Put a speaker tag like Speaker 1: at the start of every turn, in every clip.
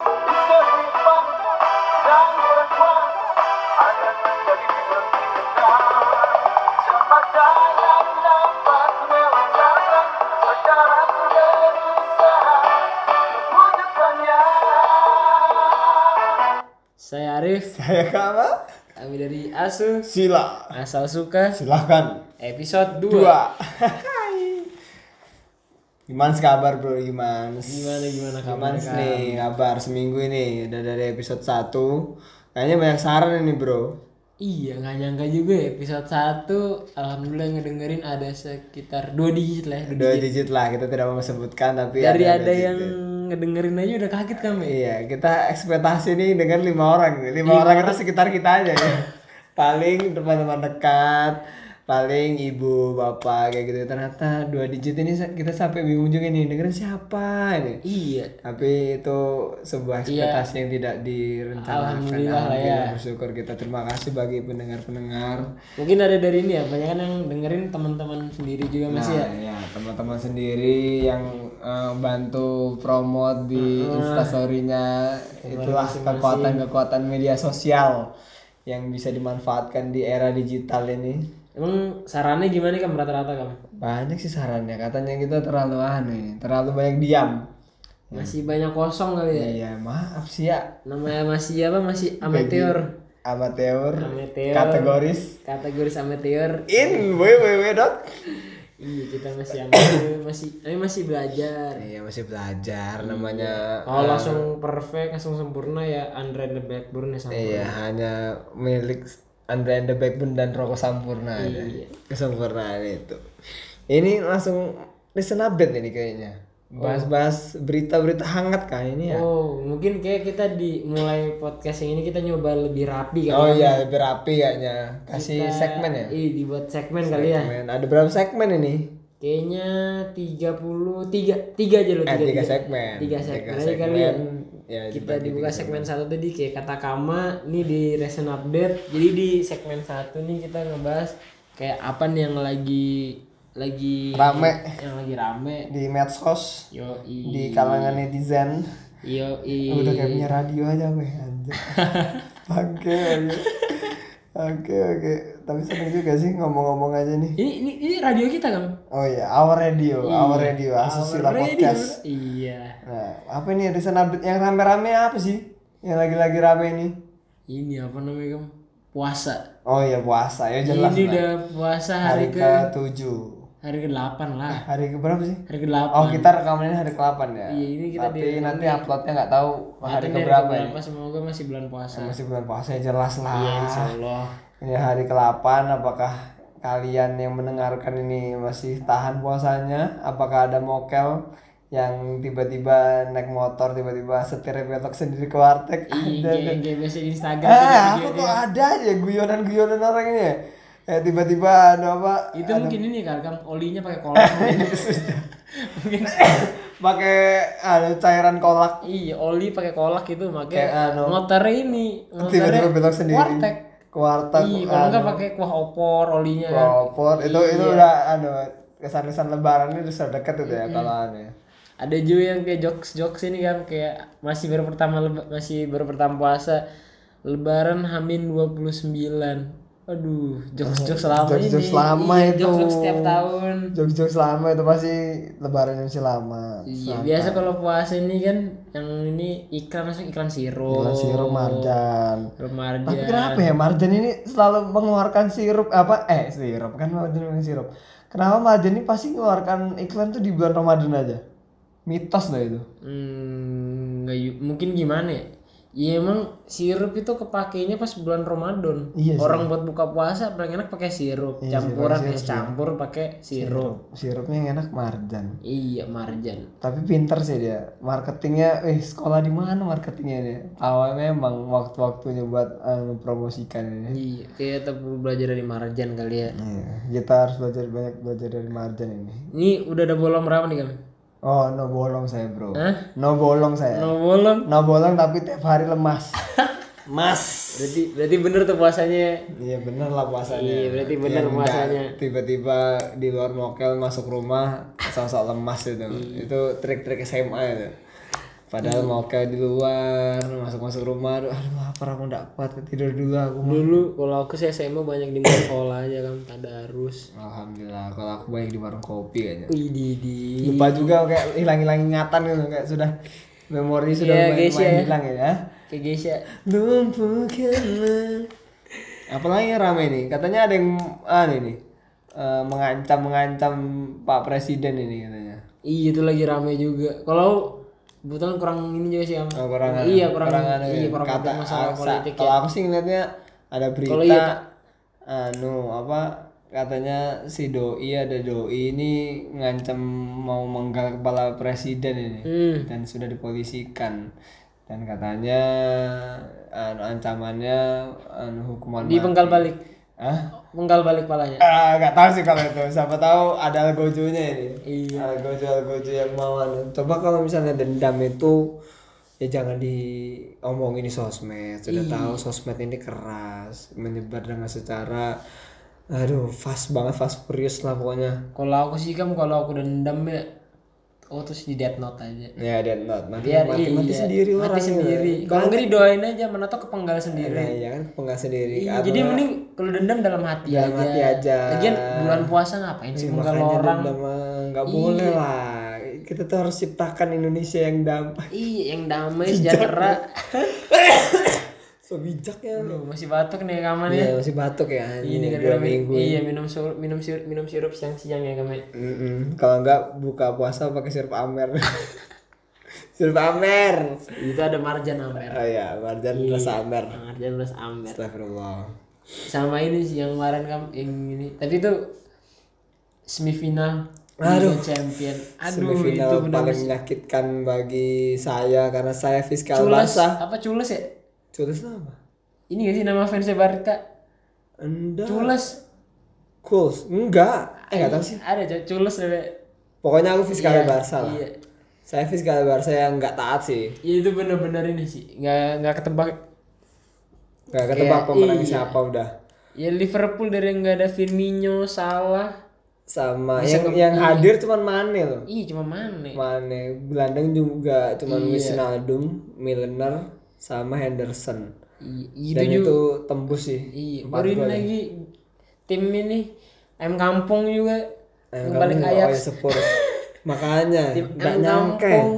Speaker 1: Oh,
Speaker 2: Saya Arif,
Speaker 3: Saya Kama
Speaker 2: kami dari Asus
Speaker 3: Sila
Speaker 2: Asal Suka
Speaker 3: Silahkan
Speaker 2: episode 2.
Speaker 3: Dua Hai Gimana kabar bro? Gimana?
Speaker 2: Gimana gimana kabar?
Speaker 3: Gimana
Speaker 2: Kak?
Speaker 3: nih kabar seminggu ini? Udah dari episode 1 Kayaknya banyak saran ini bro
Speaker 2: Iya, nggak nyangka juga ya, episode 1 alhamdulillah ngedengerin ada sekitar 2 digit lah, ya, dua digit.
Speaker 3: Dua digit lah kita tidak mau sebutkan tapi
Speaker 2: Dari
Speaker 3: dua
Speaker 2: ada
Speaker 3: digit.
Speaker 2: yang ngedengerin aja udah kaget kan, kami.
Speaker 3: Iya, kita ekspektasi nih dengan lima orang. nih. Lima orang itu sekitar kita aja ya. paling teman-teman dekat, paling ibu, bapak kayak gitu. Ternyata dua digit ini sa- kita sampai bingung juga nih dengerin siapa ini.
Speaker 2: Iya.
Speaker 3: Tapi itu sebuah ekspektasi yang tidak direncanakan.
Speaker 2: Alhamdulillah lah ya.
Speaker 3: bersyukur kita terima kasih bagi pendengar-pendengar.
Speaker 2: Mungkin ada dari ini ya, banyak kan yang dengerin teman-teman sendiri juga
Speaker 3: Nah,
Speaker 2: masih ya.
Speaker 3: ya, teman-teman sendiri yang eh, bantu promote di instastorynya itulah kekuatan-kekuatan media sosial yang bisa dimanfaatkan di era digital ini
Speaker 2: Emang sarannya gimana kamu rata-rata
Speaker 3: Hmm.
Speaker 2: kamu?
Speaker 3: banyak sih sarannya katanya kita terlalu aneh terlalu banyak diam
Speaker 2: Masih banyak kosong kali ya.
Speaker 3: iya maaf sih ya
Speaker 2: Namanya masih apa? Masih amateur.
Speaker 3: amateur
Speaker 2: Amateur.
Speaker 3: kategoris
Speaker 2: Kategori amateur
Speaker 3: in www
Speaker 2: Iya kita masih amatir, masih kami masih belajar.
Speaker 3: iya masih belajar namanya
Speaker 2: Kalau langsung perfect, langsung sempurna ya Andre the Backbone ya sama.
Speaker 3: Iya, hanya milik Andre and the Backbone dan Rokok Sampurna aja.
Speaker 2: Iya.
Speaker 3: Kesempurnaan itu. Ini langsung listen update ini kayaknya. Bahas-bahas berita-berita hangat kan ini ya.
Speaker 2: Oh mungkin kayak kita di mulai podcast yang ini kita nyoba lebih rapi kan?
Speaker 3: Oh, iya, lebih rapi kayaknya. Kasih segmen ya.
Speaker 2: Ih dibuat segmen kali ya.
Speaker 3: Segmen. Ada berapa segmen ini?
Speaker 2: Kayaknya 30 tiga tiga aja loh
Speaker 3: Eh,
Speaker 2: tiga.
Speaker 3: tiga segmen.
Speaker 2: Tiga segmen aja kali ya.
Speaker 3: Ya,
Speaker 2: Kita dibuka segmen satu tadi kayak kata kama nih di recent update. Jadi di segmen satu nih kita ngebahas kayak apa nih yang lagi lagi
Speaker 3: rame
Speaker 2: yang lagi rame
Speaker 3: di medsos,
Speaker 2: yoi
Speaker 3: di kalangan netizen.
Speaker 2: yoi
Speaker 3: Udah kayak punya radio aja gue anjir. Oke, oke. Oke, oke. Tapi seneng juga sih ngomong-ngomong aja nih.
Speaker 2: ini ini ini radio kita kan
Speaker 3: Oh iya, Our Radio, Our Radio, Asusila Podcast.
Speaker 2: iya
Speaker 3: Nah, apa ini recent update yang rame-rame apa sih? Yang lagi-lagi rame ini?
Speaker 2: ini apa namanya kamu puasa
Speaker 3: Oh iya, puasa ya jelas.
Speaker 2: ini udah puasa hari
Speaker 3: Hari
Speaker 2: ke
Speaker 3: ke-7.
Speaker 2: hari ke delapan lah
Speaker 3: Hari ke berapa sih?
Speaker 2: hari ke delapan
Speaker 3: Oh, kita rekaman ini hari ke-8 ya.
Speaker 2: Iya, ini kita
Speaker 3: Tapi nanti uploadnya nggak tahu hari ke berapa ya.
Speaker 2: berapa semoga masih bulan puasa Iya,
Speaker 3: Masih bulan puasa ya jelas lah.
Speaker 2: insyaallah
Speaker 3: Ini Ya, hari ke-8 apakah kalian yang mendengarkan ini masih tahan puasanya? Apakah ada mokel yang tiba-tiba naik motor tiba-tiba setirnya belok sendiri ke warteg?
Speaker 2: IG
Speaker 3: Ada.
Speaker 2: IG biasa di Instagram
Speaker 3: Eh, aku tuh ada aja guyonan-guyonan orang ini. ya. Eh tiba-tiba ada apa?
Speaker 2: itu mungkin ini kan kan olinya pakai kolak
Speaker 3: Iya,
Speaker 2: mungkin
Speaker 3: Pakai ada cairan kolak
Speaker 2: iya oli pakai kolak gitu
Speaker 3: Kayak
Speaker 2: makanya
Speaker 3: anu.
Speaker 2: motor ini motornya
Speaker 3: tiba-tiba belok sendiri. anu.
Speaker 2: warteg.
Speaker 3: Ke warteg.
Speaker 2: Iya, kalau enggak pakai kuah opor olinya kan.
Speaker 3: Opor itu itu udah anu kesan-kesan lebarannya udah sudah deket itu ya kalau anu. ya.
Speaker 2: Ada juga yang kayak jokes-jokes ini kan kayak masih baru pertama leba- masih baru pertama puasa lebaran hamin 29. Aduh, jokes-jokes lama ini.
Speaker 3: Oh, Jokes-jokes lama
Speaker 2: Iya,
Speaker 3: itu.
Speaker 2: Jokes-jokes setiap tahun.
Speaker 3: Jogja selama itu pasti lebaran yang masih lama.
Speaker 2: Iya, biasa kalau puasa ini kan yang ini iklan langsung iklan sirup.
Speaker 3: Gila, sirup marjan. Tapi
Speaker 2: Remaja.
Speaker 3: kenapa ya marjan ini selalu mengeluarkan sirup apa eh sirup kan marjan bukan sirup. Kenapa marjan ini pasti mengeluarkan iklan tuh di bulan Ramadan aja? Mitos lah itu.
Speaker 2: Hmm, nggak yu- mungkin gimana ya? Ya emang sirup itu kepakainya pas bulan Ramadan.
Speaker 3: Iya sih.
Speaker 2: Orang buat buka puasa paling enak Iya pakai sirup, campuran es campur pakai sirup.
Speaker 3: Sirupnya yang enak marjan.
Speaker 2: Iya, marjan.
Speaker 3: Tapi pinter sih dia. Marketingnya, eh sekolah di mana marketingnya dia? Awalnya memang waktu-waktunya buat eh, promosikan ini.
Speaker 2: Iya, kayak tetap perlu belajar dari marjan kali ya.
Speaker 3: Iya, kita harus belajar banyak belajar dari marjan ini.
Speaker 2: Ini udah ada bolong berapa nih, Kang?
Speaker 3: Oh, no bolong saya, Bro. No bolong saya.
Speaker 2: No bolong.
Speaker 3: No bolong tapi tiap hari lemas. Mas.
Speaker 2: Berarti berarti bener tuh puasanya. ya?
Speaker 3: Iya bener lah puasanya.
Speaker 2: Iya, berarti bener
Speaker 3: Yang nggak
Speaker 2: puasanya.
Speaker 3: Tiba-tiba di luar mokel masuk rumah sosok lemas itu. Itu trik-trik SMA itu. Padahal mokel di luar, masuk-masuk rumah, aduh, aduh lapar aku nggak kuat tidur dulu aku.
Speaker 2: Dulu kalau aku sih SMA banyak di sekolah aja kan, tadarus.
Speaker 3: Iya. Alhamdulillah, kalau aku banyak di warung kopi kayaknya.
Speaker 2: Wih, di
Speaker 3: lupa juga kayak hilang hilang ingatan gitu kayak sudah memori sudah
Speaker 2: Iya,
Speaker 3: main
Speaker 2: guys, ya.
Speaker 3: hilang ya
Speaker 2: kayak Geisha
Speaker 3: Lumpuhkanlah. Apalagi yang rame nih. Katanya ada yang ah ini nih. Eh, mengancam mengancam Pak Presiden ini katanya.
Speaker 2: iya itu lagi rame juga kalau kebetulan kurang ini juga sih Am.
Speaker 3: Oh, kurang ada-
Speaker 2: iya kurang,
Speaker 3: ada
Speaker 2: iya
Speaker 3: ya.
Speaker 2: kurang
Speaker 3: kata
Speaker 2: ada masalah
Speaker 3: aksa.
Speaker 2: politik ya
Speaker 3: Kalau aku sih ngeliatnya ada berita
Speaker 2: Kalau iya,
Speaker 3: anu apa katanya si doi ada doi ini ngancam mau menggal kepala presiden ini
Speaker 2: Hmm.
Speaker 3: dan sudah dipolisikan dan katanya anu, ancamannya anu hukuman
Speaker 2: di penggal balik
Speaker 3: Hah?
Speaker 2: penggal balik palanya
Speaker 3: Ah, nggak tahu sih kalau itu. Siapa tahu ada algojonya ini.
Speaker 2: Iya.
Speaker 3: Algojo algojo yang mau anu. Coba kalau misalnya dendam itu ya jangan diomongin di sosmed. Sudah
Speaker 2: Iya.
Speaker 3: tahu sosmed ini keras, menyebar dengan secara aduh fast banget fast furious lah pokoknya.
Speaker 2: kalau aku sih kan kalau aku dendam ya oh terus di death note aja
Speaker 3: Ya dan not mati
Speaker 2: biar
Speaker 3: mati, mati
Speaker 2: iya,
Speaker 3: sendiri
Speaker 2: mati Iya,
Speaker 3: orang.
Speaker 2: sendiri kalau enggak didoain aja menatap ke penggal sendiri
Speaker 3: Nah, ya kan penggak sendiri.
Speaker 2: Iya,
Speaker 3: Atau
Speaker 2: jadi mending kalau dendam dalam hati aja.
Speaker 3: Dalam
Speaker 2: Iya,
Speaker 3: hati aja.
Speaker 2: Lagian bulan puasa ngapain sih
Speaker 3: Iya, Makanya
Speaker 2: menggal orang? Iya.
Speaker 3: dendam mah nggak boleh lah. Kita tuh harus ciptakan Indonesia yang damai.
Speaker 2: Iya, yang damai sejahtera.
Speaker 3: So bijak ya.
Speaker 2: Aduh, masih batuk nih kamarnya.
Speaker 3: Iya masih batuk ya.
Speaker 2: Ini
Speaker 3: Ini dua
Speaker 2: gara-gara min-
Speaker 3: minggu.
Speaker 2: iya minum sirup minum sirup minum sirup siang-siang ya kami.
Speaker 3: Mm-mm. Kalau enggak buka puasa pakai sirup amer. sirup amer.
Speaker 2: Itu ada marjan amer.
Speaker 3: Oh ya, marjan
Speaker 2: Iya.
Speaker 3: rasa amer.
Speaker 2: Marjan plus amer.
Speaker 3: Astagfirullah.
Speaker 2: Sama ini sih yang kemarin kamu yang ini. Tapi itu semifinal Liga Champion. Aduh,
Speaker 3: Semifinal
Speaker 2: itu benar
Speaker 3: paling menyakitkan bagi saya karena saya fiskal
Speaker 2: cules.
Speaker 3: basah.
Speaker 2: Apa cules ya?
Speaker 3: Cules apa?
Speaker 2: Ini gak sih nama fansnya Barita?
Speaker 3: Anda
Speaker 2: Cules.
Speaker 3: Cools? Enggak. Eh enggak tahu sih.
Speaker 2: Ada Cok. cules deh.
Speaker 3: Pokoknya aku fiskal Barca lah.
Speaker 2: Iya.
Speaker 3: Saya fiskal Barca yang enggak taat sih.
Speaker 2: Ya, itu benar-benar ini sih. Nggak nggak ketebak.
Speaker 3: Enggak ketebak
Speaker 2: Kayak-
Speaker 3: pemenang
Speaker 2: iya.
Speaker 3: siapa udah.
Speaker 2: Ya Liverpool dari yang nggak ada Firmino, Salah.
Speaker 3: Sama
Speaker 2: Bisa
Speaker 3: yang
Speaker 2: ke-
Speaker 3: yang
Speaker 2: iya.
Speaker 3: hadir cuman Mane loh.
Speaker 2: Iya cuma Mane.
Speaker 3: Mane, gelandang juga cuman
Speaker 2: Iya.
Speaker 3: Wijnaldum, Milner sama Henderson.
Speaker 2: Iya,
Speaker 3: Dan
Speaker 2: itu juga.
Speaker 3: itu tembus sih.
Speaker 2: Iya,
Speaker 3: Empat
Speaker 2: baru ini
Speaker 3: gol ya.
Speaker 2: lagi tim ini M Kampung juga
Speaker 3: Eh,
Speaker 2: yang
Speaker 3: kamu
Speaker 2: balik
Speaker 3: juga-
Speaker 2: Ajax.
Speaker 3: Oh, ya, Spurs. Makanya
Speaker 2: Tim
Speaker 3: nggak
Speaker 2: M
Speaker 3: nyangka. ya.
Speaker 2: Kampung.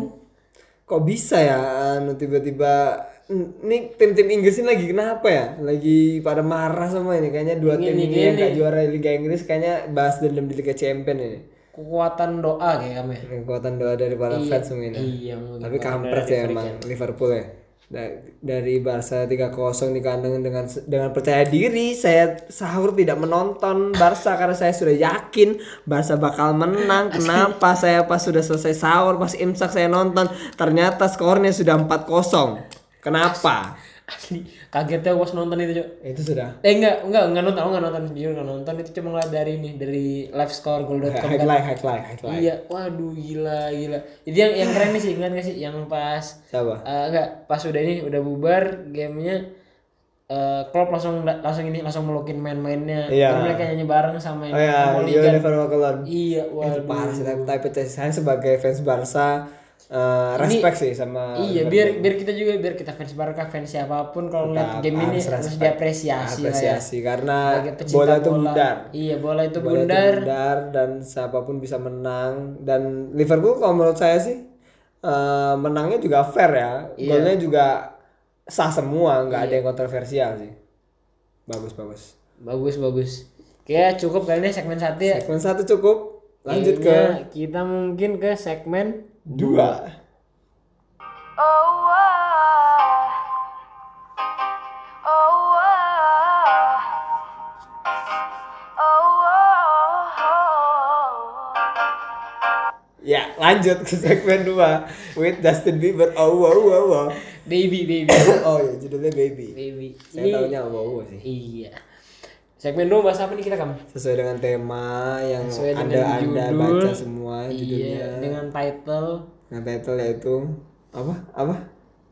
Speaker 3: Kok bisa ya anu tiba-tiba ini tim-tim Inggris ini lagi kenapa ya? Lagi pada marah semua ini kayaknya dua
Speaker 2: Ini,
Speaker 3: tim
Speaker 2: ini,
Speaker 3: ini yang
Speaker 2: ini.
Speaker 3: gak juara Liga Inggris kayaknya bahas dendam di Liga Champion ini.
Speaker 2: Kekuatan doa kayak kamu ya.
Speaker 3: Kekuatan doa dari para fans semua ini.
Speaker 2: Iya, mungkin.
Speaker 3: Tapi kampret ya emang Liverpool ya. Da- Dari Barca 3-0 di kandang dengan dengan percaya diri, saya sahur tidak menonton Barca karena saya sudah yakin Barca bakal menang. Kenapa saya pas sudah selesai sahur, pas imsak saya nonton, ternyata skornya sudah 4-0. Kenapa?
Speaker 2: Asli kagetnya was nonton itu Cok.
Speaker 3: Itu sudah
Speaker 2: Eh enggak, enggak, enggak nonton, aku enggak nonton video, enggak nonton itu cuma ngeliat dari ini dari live score goal.com
Speaker 3: highlight, highlight, highlight.
Speaker 2: Iya, waduh gila gila. Jadi yang yang keren nih sih, ingat gak sih yang pas
Speaker 3: Siapa?
Speaker 2: eh, enggak pas udah ini udah bubar gamenya eh Klopp langsung langsung ini langsung melukin main-mainnya.
Speaker 3: Iya.
Speaker 2: Terus mereka nyanyi bareng sama ini
Speaker 3: Oh ya,
Speaker 2: sama
Speaker 3: you
Speaker 2: Liga.
Speaker 3: never walk alone.
Speaker 2: Iya, waduh.
Speaker 3: Parah sih, tapi tapi saya sebagai fans Barca eh, respect sih sama
Speaker 2: Iya, biar biar kita juga biar kita fans Barca, fans siapapun kalau ngeliat game ini
Speaker 3: harus
Speaker 2: harus
Speaker 3: respect.
Speaker 2: diapresiasi lah ya.
Speaker 3: apresiasi karena
Speaker 2: Sebagai pecinta
Speaker 3: bola itu bundar.
Speaker 2: Iya, bola itu
Speaker 3: Bola itu
Speaker 2: bundar.
Speaker 3: bundar dan siapapun bisa menang dan Liverpool kalau menurut saya sih eh, menangnya juga fair ya.
Speaker 2: Iya.
Speaker 3: Golnya juga sah semua, nggak ada yang kontroversial sih. Bagus bagus.
Speaker 2: Bagus bagus. Kayak cukup kali ini segmen satu ya.
Speaker 3: Segmen satu cukup. Lanjut
Speaker 2: Kayaknya
Speaker 3: ke
Speaker 2: kita mungkin ke segmen
Speaker 3: dua.
Speaker 1: Oh, ah. oh, ah. oh, oh, oh.
Speaker 3: Ya, lanjut ke segmen dua with Justin Bieber. Oh, wow, wow, wow.
Speaker 2: baby baby
Speaker 3: Oh ya, judulnya Baby.
Speaker 2: baby.
Speaker 3: Saya taunya wow, wow sih.
Speaker 2: Iya. Segmen dua bahas apa nih kita kamu?
Speaker 3: sesuai dengan tema yang
Speaker 2: Sesuai dengan
Speaker 3: anda anda
Speaker 2: judul.
Speaker 3: baca semua judulnya
Speaker 2: Iya, dengan title
Speaker 3: nah title yaitu apa apa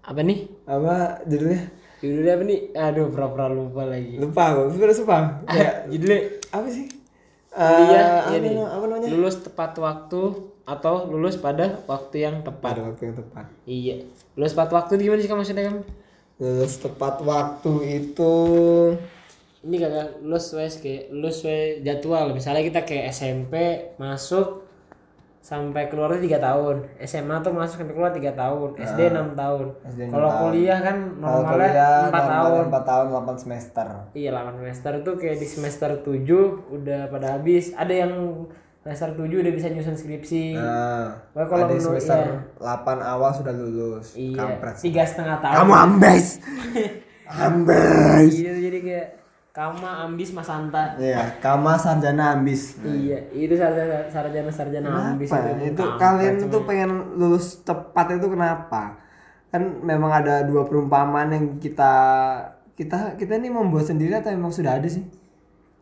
Speaker 2: apa nih?
Speaker 3: apa judulnya
Speaker 2: Judulnya apa nih? Aduh, pura-pura lupa lagi.
Speaker 3: lupa aku sudah lupa ya
Speaker 2: Judulnya
Speaker 3: apa sih
Speaker 2: kuliah
Speaker 3: Eh, apa,
Speaker 2: ini.
Speaker 3: na- apa namanya
Speaker 2: Iya, Lulus tepat waktu atau lulus pada waktu yang
Speaker 3: pada
Speaker 2: tepat.
Speaker 3: Eh, waktu yang tepat
Speaker 2: Iya. Lulus tepat waktu itu gimana sih kamu maksudnya kamu?
Speaker 3: lulus tepat waktu itu
Speaker 2: Ini kagak lulus wes kayak lulus sesuai jadwal. Misalnya kita kayak SMP masuk sampai keluarnya tiga tahun SMA tuh masuk sampai keluar tiga tahun SD enam tahun
Speaker 3: SD Ah. enam
Speaker 2: kalau
Speaker 3: tahun.
Speaker 2: kuliah kan
Speaker 3: Kalau
Speaker 2: normalnya
Speaker 3: kuliah kan
Speaker 2: empat tahun
Speaker 3: 4 tahun 8 semester.
Speaker 2: iya 8 semester tuh kayak di semester 7 udah pada habis ada yang semester 7 udah bisa nyusun skripsi
Speaker 3: Nah,
Speaker 2: Pokoknya kalau
Speaker 3: ada yang
Speaker 2: menurut-
Speaker 3: semester
Speaker 2: iya.
Speaker 3: 8 awal sudah lulus.
Speaker 2: iya
Speaker 3: Kampret.
Speaker 2: tiga setengah tahun
Speaker 3: Kamu ambes. ambes.
Speaker 2: Iya, jadi kayak kama ambis mas Anta
Speaker 3: Iya, Kama sarjana ambis.
Speaker 2: iya itu sarjana sarjana sarjana ambis
Speaker 3: Apa?
Speaker 2: itu,
Speaker 3: Itu
Speaker 2: Nah, Kampret
Speaker 3: kalian
Speaker 2: semua.
Speaker 3: tuh pengen lulus cepat itu kenapa? Kan memang ada dua perumpamaan yang kita kita kita ini membuat sendiri atau memang sudah ada sih?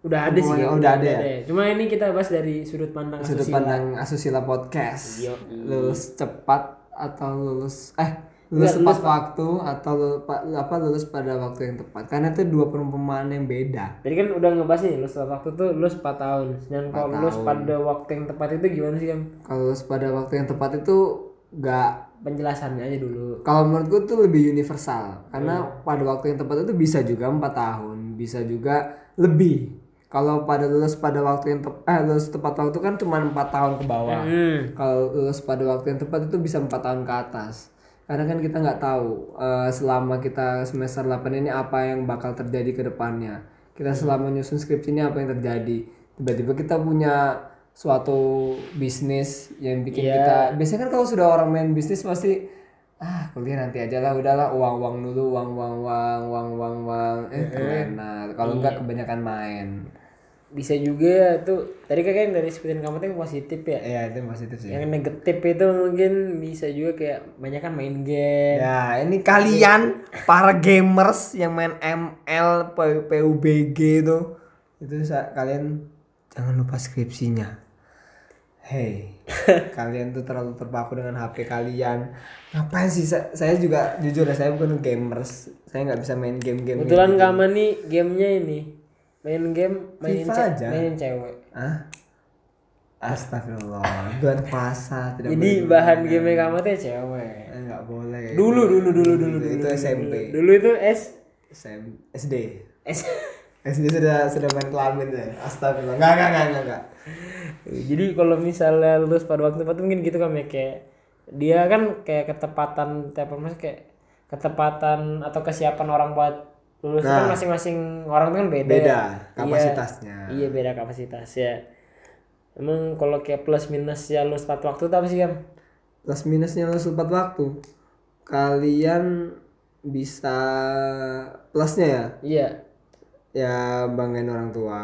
Speaker 2: udah ada sih
Speaker 3: Semuanya
Speaker 2: ya,
Speaker 3: udah ada ya?
Speaker 2: cuma ini kita bahas dari sudut pandang
Speaker 3: Sudut
Speaker 2: asusila.
Speaker 3: pandang asusila podcast.
Speaker 2: Iya.
Speaker 3: Lulus cepat atau lulus eh lulus
Speaker 2: Enggak,
Speaker 3: tepat waktu atau lu- pa- apa lulus pada waktu yang tepat. Karena itu dua perumpamaan yang beda.
Speaker 2: Jadi kan udah ngebahas nih, lulus tepat waktu tuh lulus 4 tahun. Dan kalau lulus pada waktu yang tepat itu gimana sih, Kam?
Speaker 3: Kalau lulus pada waktu yang tepat itu gak
Speaker 2: Penjelasannya aja dulu.
Speaker 3: kalau menurutku tuh lebih universal karena pada waktu yang tepat itu bisa juga empat tahun bisa juga lebih kalau pada lulus pada waktu yang tepat eh, lulus tepat waktu kan cuma empat tahun ke bawah
Speaker 2: Hmm.
Speaker 3: kalau lulus pada waktu yang tepat itu bisa empat tahun ke atas karena kan kita nggak tahu eh, selama kita semester 8 ini apa yang bakal terjadi ke depannya kita selama nyusun skripsi ini apa yang terjadi tiba-tiba kita punya suatu bisnis yang bikin
Speaker 2: Iya.
Speaker 3: kita biasanya kan kalau sudah orang main bisnis pasti ah kuliah nanti aja lah udahlah uang uang dulu uang uang uang uang uang uang eh kemana kalau nggak kebanyakan main
Speaker 2: Bisa juga tuh tadi kan yang dari sebutin kamu tuh yang positif ya.
Speaker 3: ya itu yang positif sih
Speaker 2: Yang negatif itu mungkin bisa juga kayak banyak kan main game.
Speaker 3: Ya, ini kalian para gamers yang main ML, P- PUBG itu, itu sa- kalian jangan lupa skripsinya. Hey, kalian tuh terlalu terpaku dengan HP kalian. Ngapain sih? Sa- Saya juga jujur ya, saya bukan gamers. Saya nggak bisa main game-game. gitu.
Speaker 2: Kebetulan kamu nih gamenya ini main game mainin
Speaker 3: FIFA
Speaker 2: ce-
Speaker 3: aja.
Speaker 2: mainin cewek.
Speaker 3: Ah, Astagfirullah, bulan puasa tidak
Speaker 2: Jadi
Speaker 3: boleh.
Speaker 2: bahan game
Speaker 3: kan.
Speaker 2: kamu tuh ya cewek.
Speaker 3: Eh, nggak boleh.
Speaker 2: Dulu dulu dulu dulu
Speaker 3: itu,
Speaker 2: dulu.
Speaker 3: itu SMP,
Speaker 2: Dulu itu S
Speaker 3: SM- SD.
Speaker 2: S
Speaker 3: SD sudah sudah main kelamin ya. Astagfirullah. Enggak enggak enggak enggak, enggak.
Speaker 2: Jadi kalau misalnya lulus pada waktu tepat mungkin gitu kan ya kayak dia kan kayak ketepatan tiap orang masih kayak ketepatan atau kesiapan orang buat lulus itu kan
Speaker 3: Nah.
Speaker 2: masing-masing orang itu kan beda. ya.
Speaker 3: Beda
Speaker 2: Iya.
Speaker 3: kapasitasnya.
Speaker 2: Iya, beda kapasitas ya. Emang kalau kayak plus minus ya lulus tepat waktu itu apa sih kan?
Speaker 3: Plus minusnya lu sempat waktu. Kalian bisa plusnya ya
Speaker 2: Iya.
Speaker 3: ya banggain orang tua.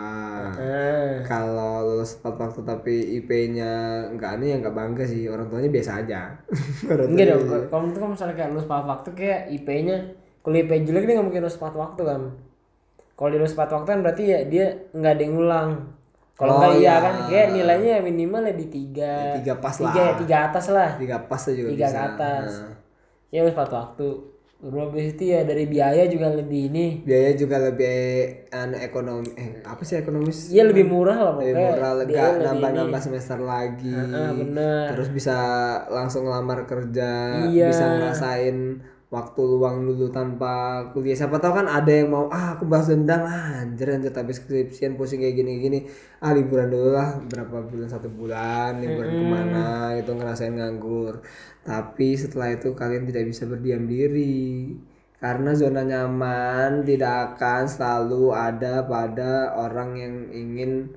Speaker 2: Ah,
Speaker 3: Kalau lulus tepat waktu tapi IP-nya enggak aneh ya enggak bangga sih. Orang tuanya biasa aja. Orang
Speaker 2: enggak
Speaker 3: tuanya
Speaker 2: dong.
Speaker 3: biasa.
Speaker 2: Kalau itu kan misalnya kayak lulus tepat waktu kayak IP-nya kalau IP jelek dia nggak mungkin lulus tepat waktu kan. Kalau dia lulus tepat waktu kan berarti ya dia nggak ada yang ngulang. Kalau
Speaker 3: Oh,
Speaker 2: nggak iya
Speaker 3: iya.
Speaker 2: kan kayak nilainya minimal ya di tiga.
Speaker 3: Ya, tiga pas
Speaker 2: tiga,
Speaker 3: lah.
Speaker 2: ya tiga atas lah.
Speaker 3: Tiga pas aja juga
Speaker 2: Tiga
Speaker 3: bisa.
Speaker 2: ke atas.
Speaker 3: Nah,
Speaker 2: Ya lulus tepat waktu. Terus habis itu ya dari biaya juga lebih ini.
Speaker 3: biaya juga lebih an ekonomi eh apa sih ekonomis?
Speaker 2: Ya lebih murah lah pokoknya.
Speaker 3: lebih murah lega
Speaker 2: Biaya lebih
Speaker 3: nambah-nambah
Speaker 2: ini.
Speaker 3: semester lagi
Speaker 2: Heeh, bener.
Speaker 3: terus bisa langsung ngelamar kerja
Speaker 2: Iya.
Speaker 3: bisa ngerasain waktu luang dulu tanpa kuliah siapa tahu kan ada yang mau ah aku bahas dendam ah, anjir anjir tapi skripsian pusing kayak gini kayak gini ah liburan dulu lah berapa bulan satu bulan liburan kemana gitu ngerasain nganggur tapi setelah itu kalian tidak bisa berdiam diri karena zona nyaman tidak akan selalu ada pada orang yang ingin